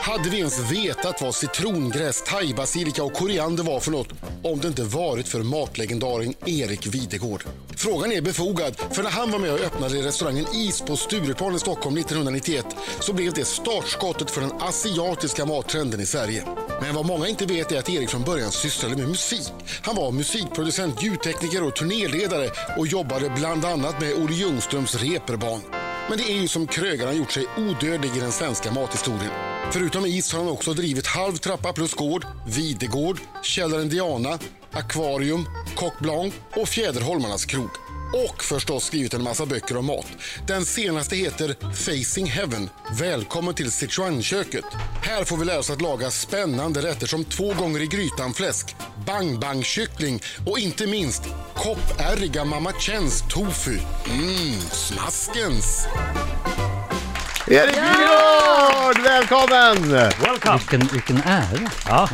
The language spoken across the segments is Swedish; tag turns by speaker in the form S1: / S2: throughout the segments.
S1: Hade vi ens vetat vad citrongräs, thaibasilika och koriander var för något om det inte varit för matlegendaren Erik Videgård? Frågan är befogad, för när han var med och öppnade restaurangen Is på Stureplan i Stockholm 1991 så blev det startskottet för den asiatiska mattrenden i Sverige. Men vad många inte vet är att Erik från början sysslade med musik. Han var musikproducent, ljudtekniker och turnéledare och jobbade bland annat med Olle Ljungströms reperband. Men det är ju som krögaren gjort sig odödlig i den svenska mathistorien. Förutom is har han också drivit halv trappa plus gård, Videgård, Källaren Diana, Akvarium, Coq Blanc och Fjäderholmarnas krog. Och förstås skrivit en massa böcker om mat. Den senaste heter Facing Heaven. Välkommen till Sichuanköket. Här får vi lära oss att laga spännande rätter som två gånger i grytan fläsk, bang bang kyckling och inte minst koppärriga mamma Chens tofu. Mmm, smaskens!
S2: Erik Björn, välkommen!
S3: Welcome!
S4: Vilken, vilken ära.
S3: Ja.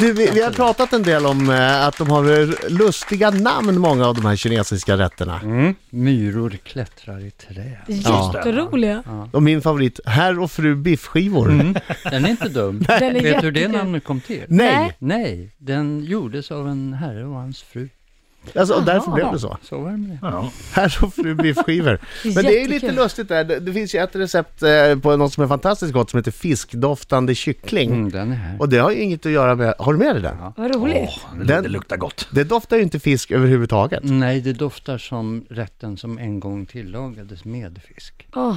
S2: Du, vi, vi har pratat en del om eh, att de har lustiga namn, många av de här kinesiska rätterna.
S3: Mm.
S4: Myror klättrar i träd.
S5: Jätteroliga.
S2: Och min favorit, herr och fru biffskivor.
S3: Mm.
S4: Den är inte dum.
S5: Den är
S4: Vet du hur det
S5: jättekul.
S4: namnet kom till?
S2: Nej,
S4: Nej, den gjordes av en herre och hans fru.
S2: alltså, och därför blev det så.
S4: Så var det med det.
S3: Ja.
S2: Herr och fru biffskivor. Men det är ju lite
S5: Jättekul.
S2: lustigt där. Det, det finns ju ett recept eh, på något som är fantastiskt gott som heter fiskdoftande kyckling.
S4: Mm, den är här.
S2: Och det har ju inget att göra med, har du med dig den?
S5: Vad roligt.
S3: Det,
S2: Den-
S3: det luktar gott. Mm.
S2: Det doftar ju inte fisk överhuvudtaget.
S4: Nej, det doftar som rätten som en gång tillagades med fisk.
S5: Åh,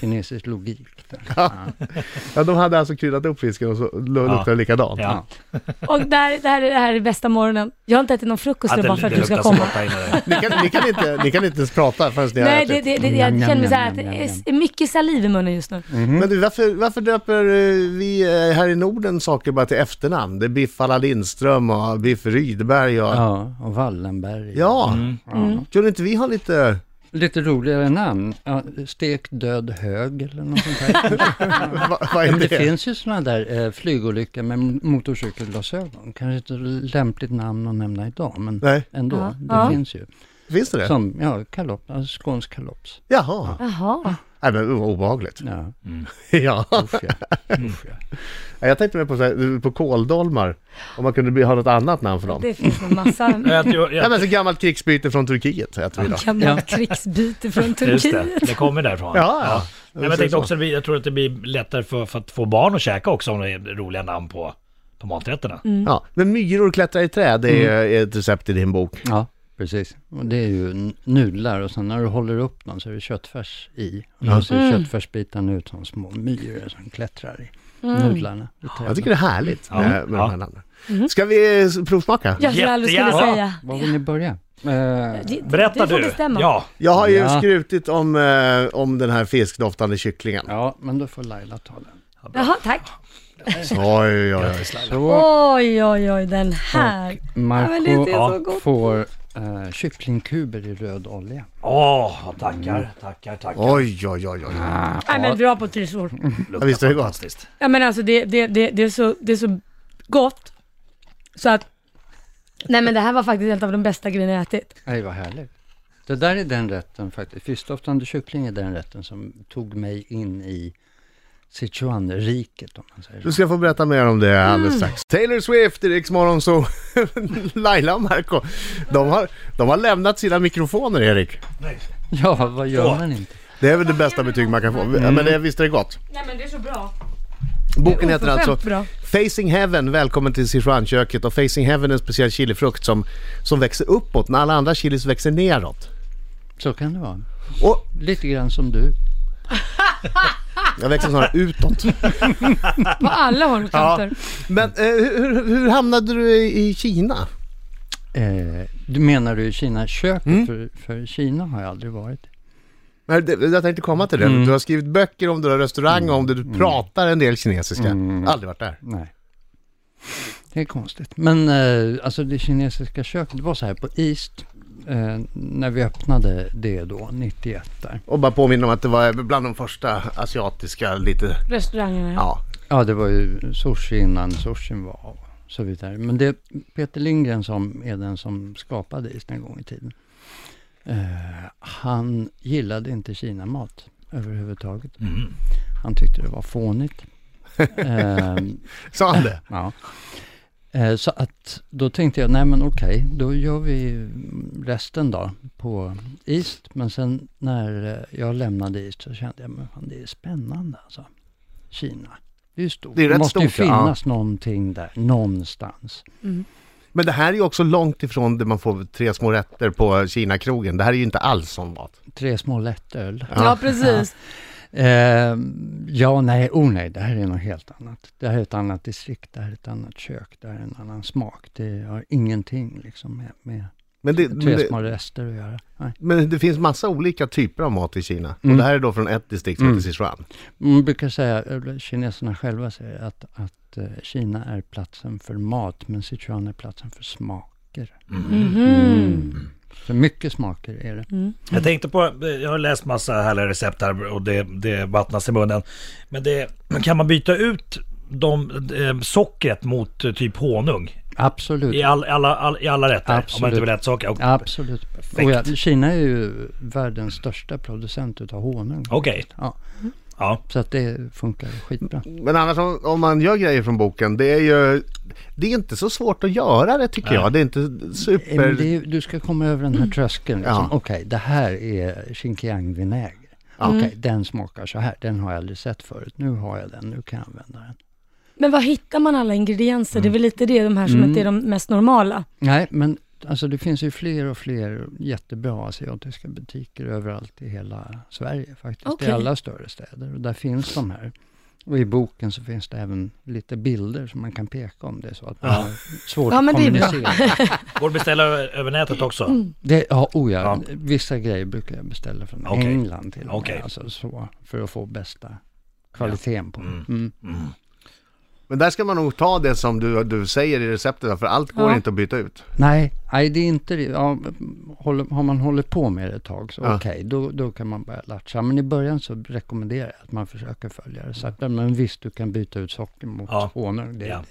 S4: Kinesisk logik. där.
S2: Ja, de hade alltså kryddat upp fisken och så lu- luktade det likadant.
S3: Ja.
S5: Och där, det, här, är- det här är bästa morgonen. Jag har inte ätit någon frukost nu bara för att du ska
S3: så
S5: komma.
S3: gott där inne.
S2: Ni, kan, ni, kan inte, ni kan inte ens prata förrän ni har
S5: Nej, det,
S2: ätit.
S5: det, det,
S3: Mm,
S5: jag
S4: Njam,
S5: känner
S4: njam,
S5: mig så här att
S4: njam,
S5: det
S4: njam, njam.
S5: är mycket saliv i munnen just nu.
S2: Mm. Men du, varför, varför döper eh, vi eh, här i Norden saker bara till efternamn? Det är Biff alla Lindström och Biff Rydberg och... Ja.
S4: Ja, Mm. och Wallenberg.
S5: Mm.
S2: Skulle inte vi ha lite...
S4: Lite roligare namn. Ja, stekt död hög eller något sånt där.
S2: Va, vad är
S4: Ja, men
S2: det?
S4: det finns ju sådana där eh, flygolyckor med m- motorcykelglasögon. Kanske inte lämpligt namn att nämna idag, men
S2: Nej.
S4: ändå.
S5: Ja.
S4: Det
S5: Ja.
S4: finns ju.
S2: Finns det det?
S4: Som, ja, kalops, alltså skånsk kalops.
S2: Jaha.
S5: Jaha.
S2: Nej men det var obehagligt.
S4: Ja,
S2: ja.
S4: usch ja. Usch, ja.
S2: Jag tänkte mer på, så här, eh, på kåldolmar. Om man kunde bli- ha något annat namn för dem.
S5: Det finns en massa
S3: Jag tror-
S2: Ja,
S3: jag-
S2: men så gammalt krigsbyte från Turkiet äter vi idag.
S5: gammalt krigsbyte från
S3: Just
S5: Turkiet.
S3: det, det kommer därifrån.
S2: Ja, ja.
S3: Nej, men jag, tänkte också, att det blir- jag tror att det blir lättare för, för att få barn att käka också om det är roliga namn på, på maträtterna.
S5: Mm.
S2: Ja, men myror klättrar i träd, det
S4: Mm.
S2: är eh, ett recept i din bok.
S4: ja, precis. Och det är ju n- nudlar och sen när du håller upp dem så är det köttfärs i. Och då
S5: Mm.
S4: ser köttfärsbitarna ut som små myror som klättrar i
S5: Mm.
S4: nudlarna. i
S2: Jag
S4: träden.
S2: tycker det är härligt
S3: Ja.
S2: med, med
S3: Ja.
S2: de här namnen. Ska vi eh, provsmaka?
S5: Jag skulle aldrig skulle
S3: Jättegärna.
S5: säga.
S4: Var vill ni börja? Eh,
S5: Det-
S3: Berätta
S5: du. får
S3: du.
S5: bestämma.
S3: Ja,
S2: Jag har ju
S4: Ja.
S2: skrutit om, eh, om den här fiskdoftande kycklingen.
S4: ja, men då får Laila ta den.
S5: Jaha, tack.
S2: Oj, oj, oj.
S4: Så.
S5: Oj, oj, oj, den här. men det är
S4: Marco
S5: så
S4: ja,
S5: gott.
S4: får eh, kycklingkuber i röd olja.
S3: åh, tackar, tackar, tackar.
S2: Oj, oj, oj, oj.
S5: Nej, men bra på trissor.
S3: Luktar
S2: visst är det gott.
S3: fantastiskt.
S5: Ja, men alltså det, det, det, det, är så, det är så gott. Så att... Nej, men det här var faktiskt en av de bästa grejerna jag ätit.
S4: Nej, vad härligt. Det där är den rätten faktiskt. Fiskdoftande kyckling är den rätten som tog mig in i Sichuanriket om man säger så.
S2: Du ska få berätta mer om det alldeles strax. Taylor Swift, Eriks morgon, så Laila och Marco, de har, de har lämnat sina mikrofoner, Erik.
S4: Ja, vad gör man inte?
S2: Det är väl det bästa betyg man kan få. Men det, visst är det gott?
S5: Nej, men det är så bra.
S2: Boken heter alltså
S5: Oförskämt bra.
S2: Facing Heaven, välkommen till Sichuanköket. Och Facing Heaven är en speciell chilifrukt som, som växer uppåt när alla andra chilis växer neråt.
S4: Så kan det vara.
S2: Och
S4: Lite grann som du.
S2: jag växer snarare utåt.
S5: På alla håll och kanter.
S2: Men eh, hur, hur- hur hamnade du i i Kina?
S4: Eh, du menar du Kina-köket? För, för Kina har jag aldrig varit.
S2: Nej, det- Jag tänkte komma till det. Du har skrivit böcker om det, du har restaurang om det, du pratar en del kinesiska. Aldrig varit där.
S4: Nej. Det är konstigt. Men eh, alltså det kinesiska köket, det var så här på East, eh, när vi öppnade det då, 91 där.
S2: Och bara påminna om att det var bland de första asiatiska lite,
S5: Restaurangerna, ja.
S2: ja.
S4: Ja, det var ju sushi innan sushin var och så vidare. Men det är Peter Lindgren som är den som skapade isen en gång i tiden. Eh, han gillade inte Kinamat överhuvudtaget. Han tyckte det var fånigt. Ehm,
S2: Sa han det?
S4: Ja. Eh, Så att då tänkte jag, nej men okej, då gör vi resten då på East. Men sen när eh, jag lämnade East så kände jag, men fan det är spännande alltså. Kina, det är ju stort.
S2: Det är rätt
S4: måste ju
S2: stort, ja.
S4: finnas någonting där, någonstans.
S5: Mm.
S2: Men det här är ju också långt ifrån där man får tre små rätter på Kina-krogen. Det här är ju inte alls sån mat.
S4: Tre små lättöl.
S5: Ja, precis.
S4: Eh, ja, nej, oh nej, det här är något helt annat. Det här är ett annat distrikt, det här är ett annat kök, det här är en annan smak. Det har ingenting liksom med, med
S2: Men det, men
S4: tre
S2: det,
S4: små rester att göra. Nej.
S2: men det finns massa olika typer av mat i Kina.
S4: Mm.
S2: Och det här är då från ett distrikt som heter Sichuan.
S4: Man brukar säga, eller kineserna själva säger att, att eh, Kina är platsen för mat, men Sichuan är platsen för smaker.
S5: Mm. Mhm.
S4: Så mycket smaker är det.
S3: Jag tänkte på, jag har läst massa härliga recept här och det, det vattnas i munnen. Men det, kan man byta ut de, eh, sockret mot eh, typ honung?
S4: Absolut.
S3: I, all, alla, all, i alla rätter? Om man
S4: Absolut.
S3: inte vill äta socker? Och-
S4: Absolut.
S3: Perfekt.
S4: Och ja, Kina är ju världens största producent utav honung.
S3: Okej,
S4: Ja,
S3: ja.
S4: så att det funkar skitbra.
S2: Men annars om, om man gör grejer från boken, det är ju... Det är inte så svårt att göra det tycker jag. Det är inte
S4: Eh, men
S2: super...
S4: Det är, ju- du ska komma över den här tröskeln. Liksom.
S2: Ja.
S4: Okej, det här är Xinjiang-vinäger. Okej, den smakar så här. Den har jag aldrig sett förut. Nu har jag den, nu kan jag använda den.
S5: Men var hittar man alla ingredienser? Det är väl lite det, de här som inte är de mest normala.
S4: Nej, men alltså det finns ju fler och fler jättebra asiatiska butiker överallt i hela Sverige faktiskt. I
S5: Okej.
S4: alla större städer och där finns de här. Och i boken så finns det även lite bilder som man kan peka om det är så att man
S3: Ja.
S4: har svårt
S5: Ja, men
S4: att
S5: det är bra.
S4: kommunicera.
S3: Går det att beställa ö- över nätet också?
S5: Mm.
S4: Det, ja, oh ja,
S3: Ja.
S4: vissa grejer brukar jag beställa från
S3: Okej.
S4: England till och
S3: Okej.
S4: med, alltså så, för att få bästa kvaliteten på det.
S3: Mm.
S4: Mm.
S2: Men där ska man nog ta det som du, du säger i receptet, för allt går
S5: Ja.
S2: inte att byta ut.
S4: Nej, nej, det är inte det. Ja, håller, har man hållit på med det ett tag så
S2: Ja.
S4: okej, då, då kan man börja latcha. Men i början så rekommenderar jag att man försöker följa det. Så att, men visst, du kan byta ut socker mot
S3: Ja.
S4: honung. Det, är
S3: Ja.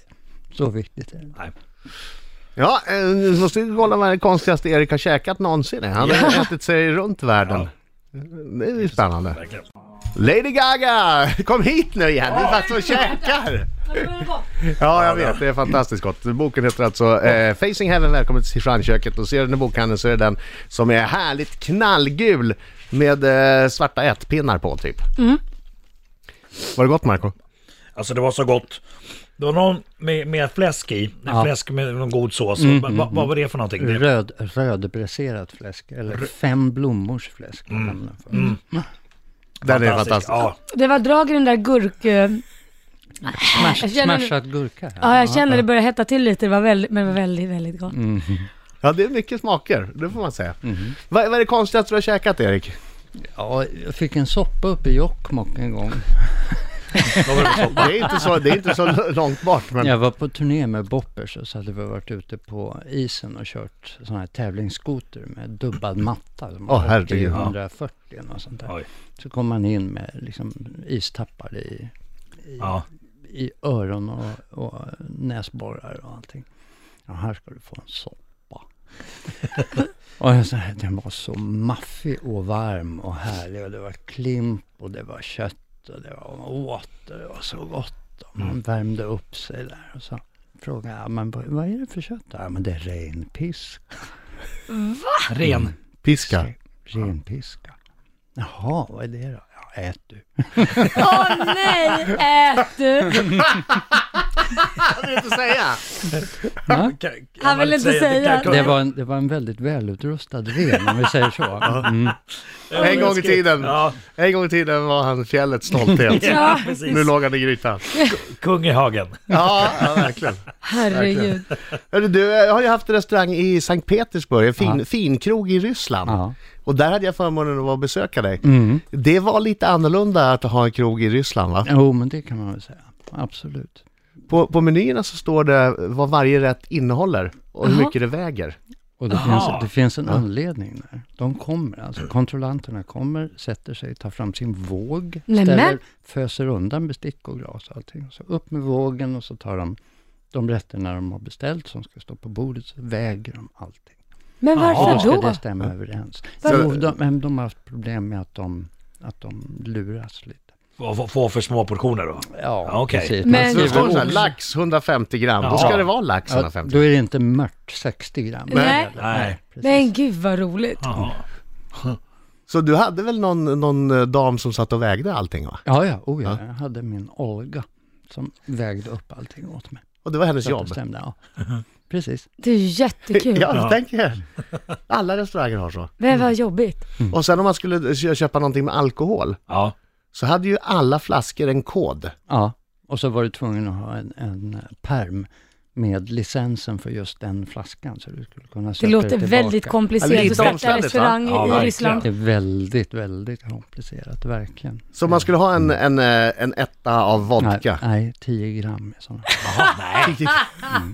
S4: det. Så viktigt är det.
S3: Nej.
S2: Ja, eh, nu måste vi kolla vad det konstigaste Erik har käkat någonsin är. Han har ätit sig runt världen. Det är ju spännande.
S3: Verkligen.
S2: Lady Gaga! Kom hit nu igen! Det är faktiskt och käkar! Ja, jag vet. Det är fantastiskt gott. Boken heter alltså eh, Facing Heaven. Välkommen till Sichuanköket. Och ser du den i bokhandeln så är det den som är härligt knallgul med eh, svarta ätpinnar på typ. Var det gott Marco?
S3: Alltså det var så gott. Det var någon med, med fläsk i, fläsk med någon god sås.
S2: Mm.
S3: Va- va, vad var det för någonting? Det,
S4: Röd, rödbräserat fläsk, eller fem blommors fläsk. kallar man den för.
S2: Den är fantastisk.
S3: Ja,
S5: Det var drag i den där gurk... eh, Jag
S4: Smash,
S5: känner-
S4: smashad gurka. här.
S5: Ja, jag känner det börjar hetta till lite, det var väldigt, men det var väldigt, väldigt gott.
S2: Ja, det är mycket smaker. Det får man säga.
S3: Mhm.
S2: Vad, vad är det konstigaste du har käkat Erik?
S4: Ja, jag fick en soppa uppe i Jokkmokk en gång.
S3: då var det så.
S2: Det är inte så, det är inte så långt bort men...
S4: Jag var på turné med Boppers och så hade vi varit ute på isen och kört sån här tävlingsskoter med dubbad matta. som
S2: Åh,
S4: åkte
S2: herregud.
S4: i 140 och sånt
S2: Mm.
S4: där.
S3: Oj.
S4: Så kom man in med liksom istappar i,
S3: Ja.
S4: i öron och, och näsborrar och allting. Ja, här ska du få en soppa. och jag sa, den var så maffig och varm och härlig och det var klimp och det var kött och det var man åt och det var så gott. Och man värmde upp sig där och så frågade jag, men vad, vad är det för kött? Ja, men det är Mm, renpisk.
S3: Ren.
S2: Piska.
S4: Renpiska. Jaha, vad är det då? Ja, ät du.
S5: Åh nej, ät du!
S2: Jag vill inte säga.
S3: Kan- kan
S5: Han
S3: man
S5: vill inte säga
S3: kan- kan-
S4: Det var en, det var en väldigt välutrustad ren om vi säger så. Mm.
S2: En gång i tiden.
S3: Ja,
S2: En gång i tiden var han fjällets stolthet.
S3: ja precis.
S2: Nu låg han i grytan.
S3: Kung i hagen.
S2: Ja, ja verkligen.
S5: Herregud.
S2: Hörru, du, jag har ju haft en restaurang i Sankt Petersburg, en fin, finkrog i Ryssland.
S4: Ja. Mm.
S2: Och där hade jag förmånen att vara och besöka dig. Det var lite annorlunda att ha en krog i Ryssland va?
S4: Jo, men det kan man väl säga. Absolut.
S2: På, på menyerna så står det vad varje rätt innehåller och hur
S5: Jaha.
S2: mycket det väger.
S4: Och det,
S3: Aha.
S4: finns, det finns en anledning där. De kommer, alltså kontrollanterna kommer, sätter sig, tar fram sin våg,
S5: Nämen.
S4: ställer, föser undan bestick och glas och allting. Så upp med vågen och så tar de de rätterna de har beställt som ska stå på bordet, så väger de allting.
S5: Men
S4: Och då
S5: varför
S4: ska
S5: då?
S4: det stämma överens.
S5: Varför?
S4: Jo, de, men de har haft problem med att de, att de luras lite.
S3: Och få- få för små portioner då?
S4: Ja,
S3: Ja, okej.
S4: precis.
S5: Men-
S4: Man
S2: Så det
S4: skriver
S2: står så här,
S4: ost.
S2: lax 150 gram, då
S3: Ja.
S2: ska det vara lax
S4: Ja,
S2: 150
S4: då är det inte mört 60 gram.
S5: Nej. Nej.
S3: Nej.
S4: precis.
S5: Men gud vad roligt.
S3: Jaha.
S2: Så du hade väl någon, någon eh, dam som satt och vägde allting va?
S4: Ja, ja, oh, ja. Jag hade min Olga som vägde upp allting åt mig.
S2: Och det var hennes
S4: Så att
S2: jobb?
S4: det stämde, ja. Precis.
S5: Det är ju jättekul.
S2: Ja,
S3: Ja.
S2: det tänker jag. Alla restauranger har så.
S5: Men vad jobbigt.
S4: Mm.
S2: Och sen om man skulle kö- köpa någonting med alkohol
S3: Ja.
S2: så hade ju alla flaskor en kod.
S4: Ja, och så var du tvungen att ha en, en eh, perm med licensen för just den flaskan. Så du skulle kunna
S5: Det
S4: söka
S5: låter
S4: tillbaka.
S5: väldigt
S2: Ja,
S5: komplicerat
S2: lite
S5: att starta
S2: omständigt,
S5: restaurang
S3: va? Ja, verkligen.
S5: i Ryssland.
S4: Det är väldigt, väldigt komplicerat, verkligen.
S2: Så om man skulle ha en, en, eh, en etta av vodka.
S4: Nej, nej 10 gram är sådana.
S3: Jaha, nej.
S2: Mm.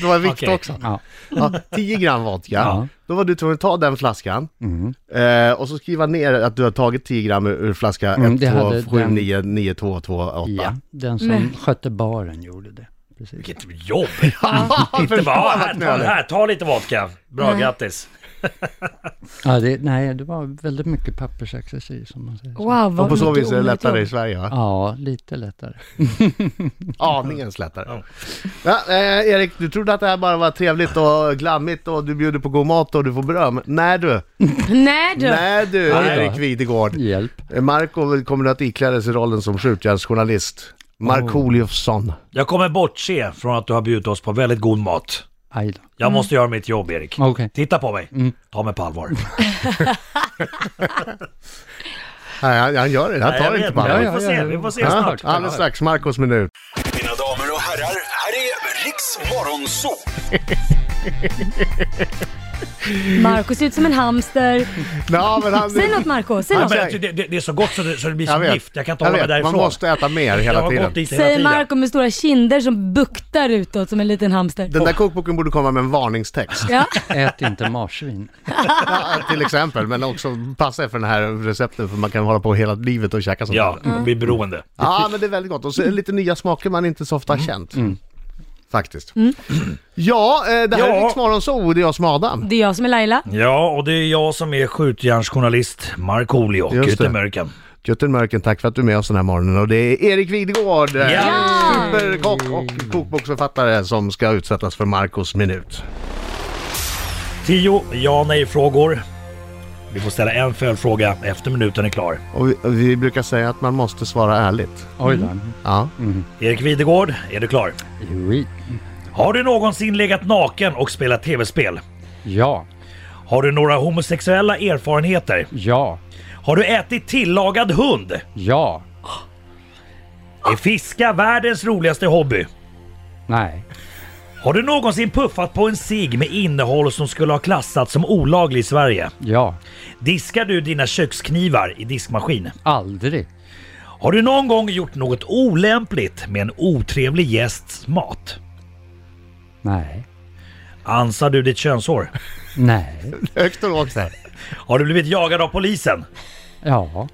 S2: Det var viktigt
S3: Okej.
S2: också.
S4: Ja.
S2: Ja, 10 gram vodka.
S4: Ja.
S2: Då var du tvungen att ta den flaskan
S4: Mm.
S2: eh, och så skriva ner att du har tagit 10 gram ur, ur flaska
S4: Mm, det
S2: 1, 2,
S4: hade
S2: 7,
S4: den-
S2: 9, 9, 2, 2, 8.
S4: ja, den som
S5: Men-
S4: skötte baren gjorde det. Precis.
S3: Vilket jobb! Inte bara, här, ta, den här, ta lite vodka. Bra,
S5: Nej.
S3: grattis.
S4: Ja, det, nej, det var väldigt mycket pappersexercis som man säger. så.
S5: Wow, vad
S2: Och på så vis är det
S5: otroligt
S2: lättare i
S5: jobb.
S2: Sverige va?
S4: Ja, lite lättare.
S2: Aningens lättare. Ja, eh, Erik, du trodde att det här bara var trevligt och glammigt och du bjuder på god mat och du får beröm. Nej du!
S5: Nej du.
S2: Nej du,
S4: Nej då.
S2: Erik Videgård.
S4: Hjälp.
S2: Eh, Marco kommer att ikläda sig rollen som skjutjärnsjournalist. Markooliofsson.
S3: Jag kommer bortse från att du har bjudit oss på väldigt god mat.
S4: Aj då.
S5: Mm.
S3: Jag måste göra mitt jobb, Erik.
S4: Okej.
S3: Titta på mig.
S2: Mm.
S3: Ta mig på allvar.
S2: Nej, han, han gör det. Han
S3: Nej, jag
S2: tar
S3: vet
S2: inte på
S3: inte.
S2: allvar.
S3: Vi får se, vi får se snart.
S2: Ja, alldeles strax, Marcos minut.
S6: Mina damer och herrar, här är Riks Morgonzoo!
S5: Markus ser ut som en hamster.
S2: Ja, men han,
S5: Säg något Marco, säg
S3: Ja,
S5: något.
S3: men alltså, det, det, det är så gott så det, så det blir
S2: jag
S3: som
S2: vet.
S3: gift. Jag kan inte
S2: Jag
S3: hålla mig
S2: vet.
S3: därifrån.
S2: Man måste äta mer
S3: jag
S2: hela
S3: har
S2: tiden.
S3: gått dit hela
S5: Säger
S3: tiden.
S5: Marco med stora kinder som buktar utåt som en liten hamster.
S2: Den där kokboken borde komma med en varningstext,
S5: Ja,
S4: Ät inte marsvin.
S2: ja, till exempel. Men också passa er för den här recepten för man kan hålla på hela livet och käka sånt.
S3: Ja,
S2: där.
S5: mm.
S3: man blir beroende.
S2: ja, men det är väldigt gott. Och så är det lite nya smaker man inte så ofta
S3: Mm.
S2: har känt. Faktiskt.
S5: Mm.
S2: Ja, eh, det här är
S3: Ja.
S2: Rix Morgonzoo, det är jag som är Adam.
S5: det är jag som är Laila.
S3: Ja, och det är jag som är skjutjärnsjournalist Markoolio,
S2: Just det.
S3: Gutenbergen.
S2: Gutten Mörken, tack för att du är med oss den här morgonen. Och det är Erik Videgård, eh,
S3: Ja.
S2: superkock och kokboksförfattare som ska utsättas för Marcos minut.
S3: Tio ja nej-frågor. Vi får ställa en följdfråga efter minuten är klar.
S2: Och vi, vi brukar säga att man måste svara ärligt.
S4: Oj då.
S2: Ja.
S3: Erik Videgård, är du klar?
S4: Joi.
S3: Har du någonsin legat naken och spelat tv-spel?
S4: Ja.
S3: Har du några homosexuella erfarenheter?
S4: Ja.
S3: Har du ätit tillagad hund?
S4: Ja.
S3: Är fiska världens roligaste hobby?
S4: Nej.
S3: Har du någonsin puffat på en cigg med innehåll som skulle ha klassats som olaglig i Sverige?
S4: Ja.
S3: Diskar du dina köksknivar i diskmaskin?
S4: Aldrig.
S3: Har du någon gång gjort något olämpligt med en otrevlig gästs mat?
S4: Nej.
S3: Ansar du ditt könshår?
S4: Nej.
S2: Högt och lågt här.
S3: Har du blivit jagad av polisen?
S4: Ja.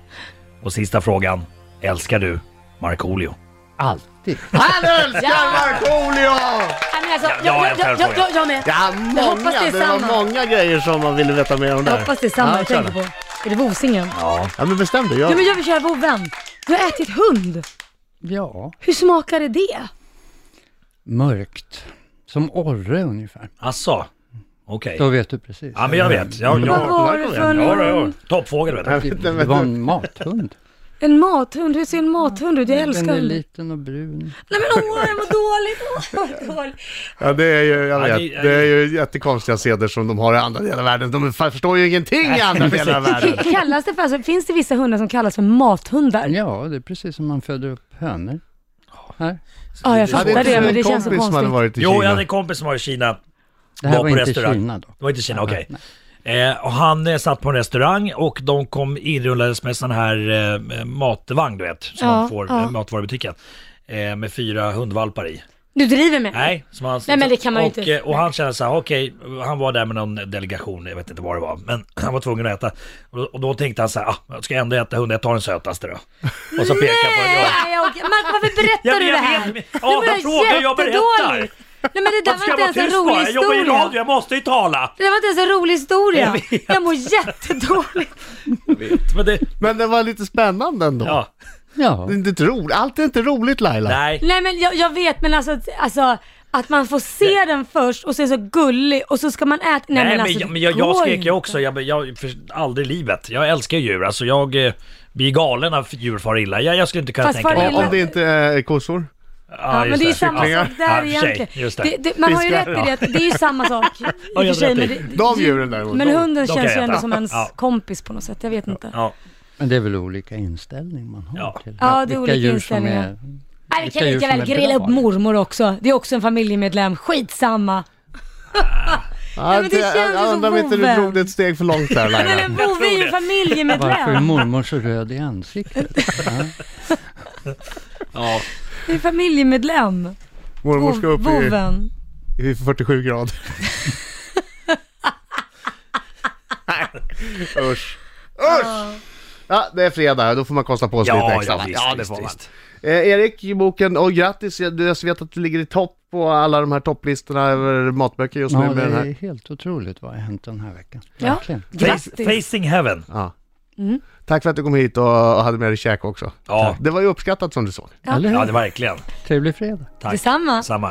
S3: Och sista frågan. Älskar du Markoolio?
S4: Alltid.
S2: Han älskar
S5: Ja.
S2: Markoolio!
S5: Nej, men alltså,
S3: Ja, jag
S5: jag,
S3: har
S5: jag,
S3: en
S5: jag, jag,
S3: följdfråga.
S5: jag, jag med.
S2: Ja,
S5: Jag hoppas
S2: många.
S5: det är
S2: Det var
S5: samma.
S2: många grejer som man ville veta mer om
S5: Jag
S2: där.
S5: hoppas det är samma
S2: Ja,
S5: jag tänker
S2: kör.
S5: på. Är det Vosingen?
S3: Ja.
S2: Ja, men bestäm dig.
S5: Ja
S2: Jag...
S5: men jag vill köra vovven. Du har ätit hund.
S4: Ja.
S5: Hur smakade det?
S4: Mörkt. Som orre ungefär.
S3: Asså? Okej.
S4: Då vet du precis.
S3: Ja men jag vet. Jag,
S5: Vad
S3: jag,
S5: var det för
S3: ja, ja, ja.
S5: någon?
S3: Toppfågel vet du.
S4: Det, det var en mathund.
S5: En mathund? Hur ser en mathund ut? Jag älskar
S4: Den är
S5: hund.
S4: liten och brun.
S5: Nej men åh, det var dåligt. Åh, det var dåligt.
S2: Ja, det är ju, jag
S3: Ja,
S2: vet,
S3: det-
S2: det är ju jättekonstiga seder som de har i andra delar av världen. De fa- förstår ju ingenting i andra delar av världen.
S5: K- Kallas det för, alltså, finns det vissa hundar som kallas för mathundar?
S4: Ja, det är precis som man föder upp hönor. Här.
S5: Ja, jag
S2: Ja,
S5: fattar
S2: inte
S5: det, men det
S2: en
S5: känns så
S2: kompis som hade
S5: konstigt.
S2: varit i Kina.
S3: Jo, jag hade en kompis som var i Kina.
S4: Det här
S3: Var
S4: var,
S3: på
S4: inte
S3: restaurang.
S4: Kina då.
S3: Det var inte Kina, okej. Eh, och han eh, satt på en restaurang och de kom inrullades med sån här eh, matvagn du vet, som
S5: Ja,
S3: man får
S5: ja.
S3: eh, matvarubutiken. Eh, med fyra hundvalpar i.
S5: Du driver med?
S3: Nej, som han,
S5: Nej, men det kan man ju
S3: och,
S5: inte.
S3: eh, Och han kände så här, okej, han var där med någon delegation, jag vet inte vad det var, men han var tvungen att äta. Och, och då tänkte han så här, ah, jag ska ändå äta hund, jag tar den sötaste då. Och så pekade han på den.
S5: Nej, jag orkar- Marco, varför berättar
S3: Jag
S5: du
S3: vet,
S5: det
S3: jag
S5: här?
S3: vet, men- Ja,
S5: det var
S3: jag frågar, jag berättar.
S5: jättedåligt. Nej men det där
S3: Jag
S5: var
S3: ska
S5: inte
S3: vara
S5: ens en
S3: tyst
S5: rolig
S3: bara, jag jobbar i
S5: historia.
S3: radio, jag måste ju tala.
S5: Det där var inte ens en rolig historia.
S3: Jag
S5: Jag,
S3: vet.
S5: mår jättedåligt.
S3: Men det,
S2: Men det var lite spännande ändå.
S3: ja.
S4: Ja.
S2: Det är inte roligt. Allt är inte roligt Laila.
S3: Nej.
S5: Nej men jag, jag vet men alltså, alltså att man får se den först och sen så gullig och så ska man äta. Nej,
S3: Nej, men,
S5: alltså,
S3: jag,
S5: det
S3: men jag, jag
S5: går
S3: skrek
S5: inte.
S3: ju också, jag, jag, för, aldrig i livet. Jag älskar ju djur, alltså jag eh, blir galen när djur far illa. Jag, jag skulle inte kunna
S5: Fast
S3: tänka
S5: far
S3: mig
S2: Om, om det inte eh, är kossor.
S5: Ja, men
S3: just
S5: det är ju samma
S3: Kycklingar.
S5: sak där
S3: Ja, i och för sig,
S5: egentligen.
S3: Just det.
S5: Det, det, man har ju rätt
S2: Fiskar,
S5: i det, att det är ju samma sak i och för
S3: jag
S5: sig.
S3: rätt i.
S5: Men, det,
S2: De djuren däremot.
S5: men
S2: de-
S5: hunden
S3: de kan
S5: känns ju
S3: jag
S5: ändå
S3: äta.
S5: som ens
S3: Ja.
S5: kompis på något sätt, jag vet inte.
S3: Ja.
S4: Men det är väl olika inställning man har
S3: Ja.
S4: till
S5: Ja, det är olika
S4: djur som
S5: inställningar.
S4: är-
S5: Nej,
S4: Vilka
S5: vi kan
S4: djur
S5: lika
S4: som
S5: väl
S4: är
S5: grilla
S4: bra.
S5: upp mormor också. Det är också en familjemedlem, skitsamma.
S2: Ja,
S5: men det känns ju
S2: jag
S5: som
S2: undrar om inte du
S5: boven.
S2: drog det ett steg för långt där
S5: Men
S2: Laila.
S5: en bov är ju en
S4: Varför är
S5: familjemedlem.
S4: mormor så röd i ansiktet? Ja.
S3: Ja.
S5: Det är familjemedlem.
S2: Mormor ska upp i,
S5: Boven.
S2: i 47 grader. Nej, usch. Usch! Ja, det är fredag, då får man kosta på sig lite
S3: Ja,
S2: extra.
S3: ja, visst,
S2: ja, det
S3: visst,
S2: får man.
S3: visst.
S2: Eh, Erik, i boken, och grattis, jag jag vet att du ligger i topp på alla de här topplistorna över matböcker just nu
S4: Ja,
S2: med
S4: det
S2: den
S4: är
S2: här.
S4: helt otroligt vad har hänt den här veckan.
S5: Ja.
S4: Verkligen.
S3: Face,
S5: Grattis.
S3: facing heaven.
S2: Ja. Tack för att du kom hit och, och hade med dig käk också.
S3: Ja,
S2: Det var ju uppskattat som du såg.
S5: Ja.
S4: Eller hur?
S3: ja det verkligen.
S4: Trevlig fredag.
S3: Tack.
S5: Detsamma.
S3: Samma.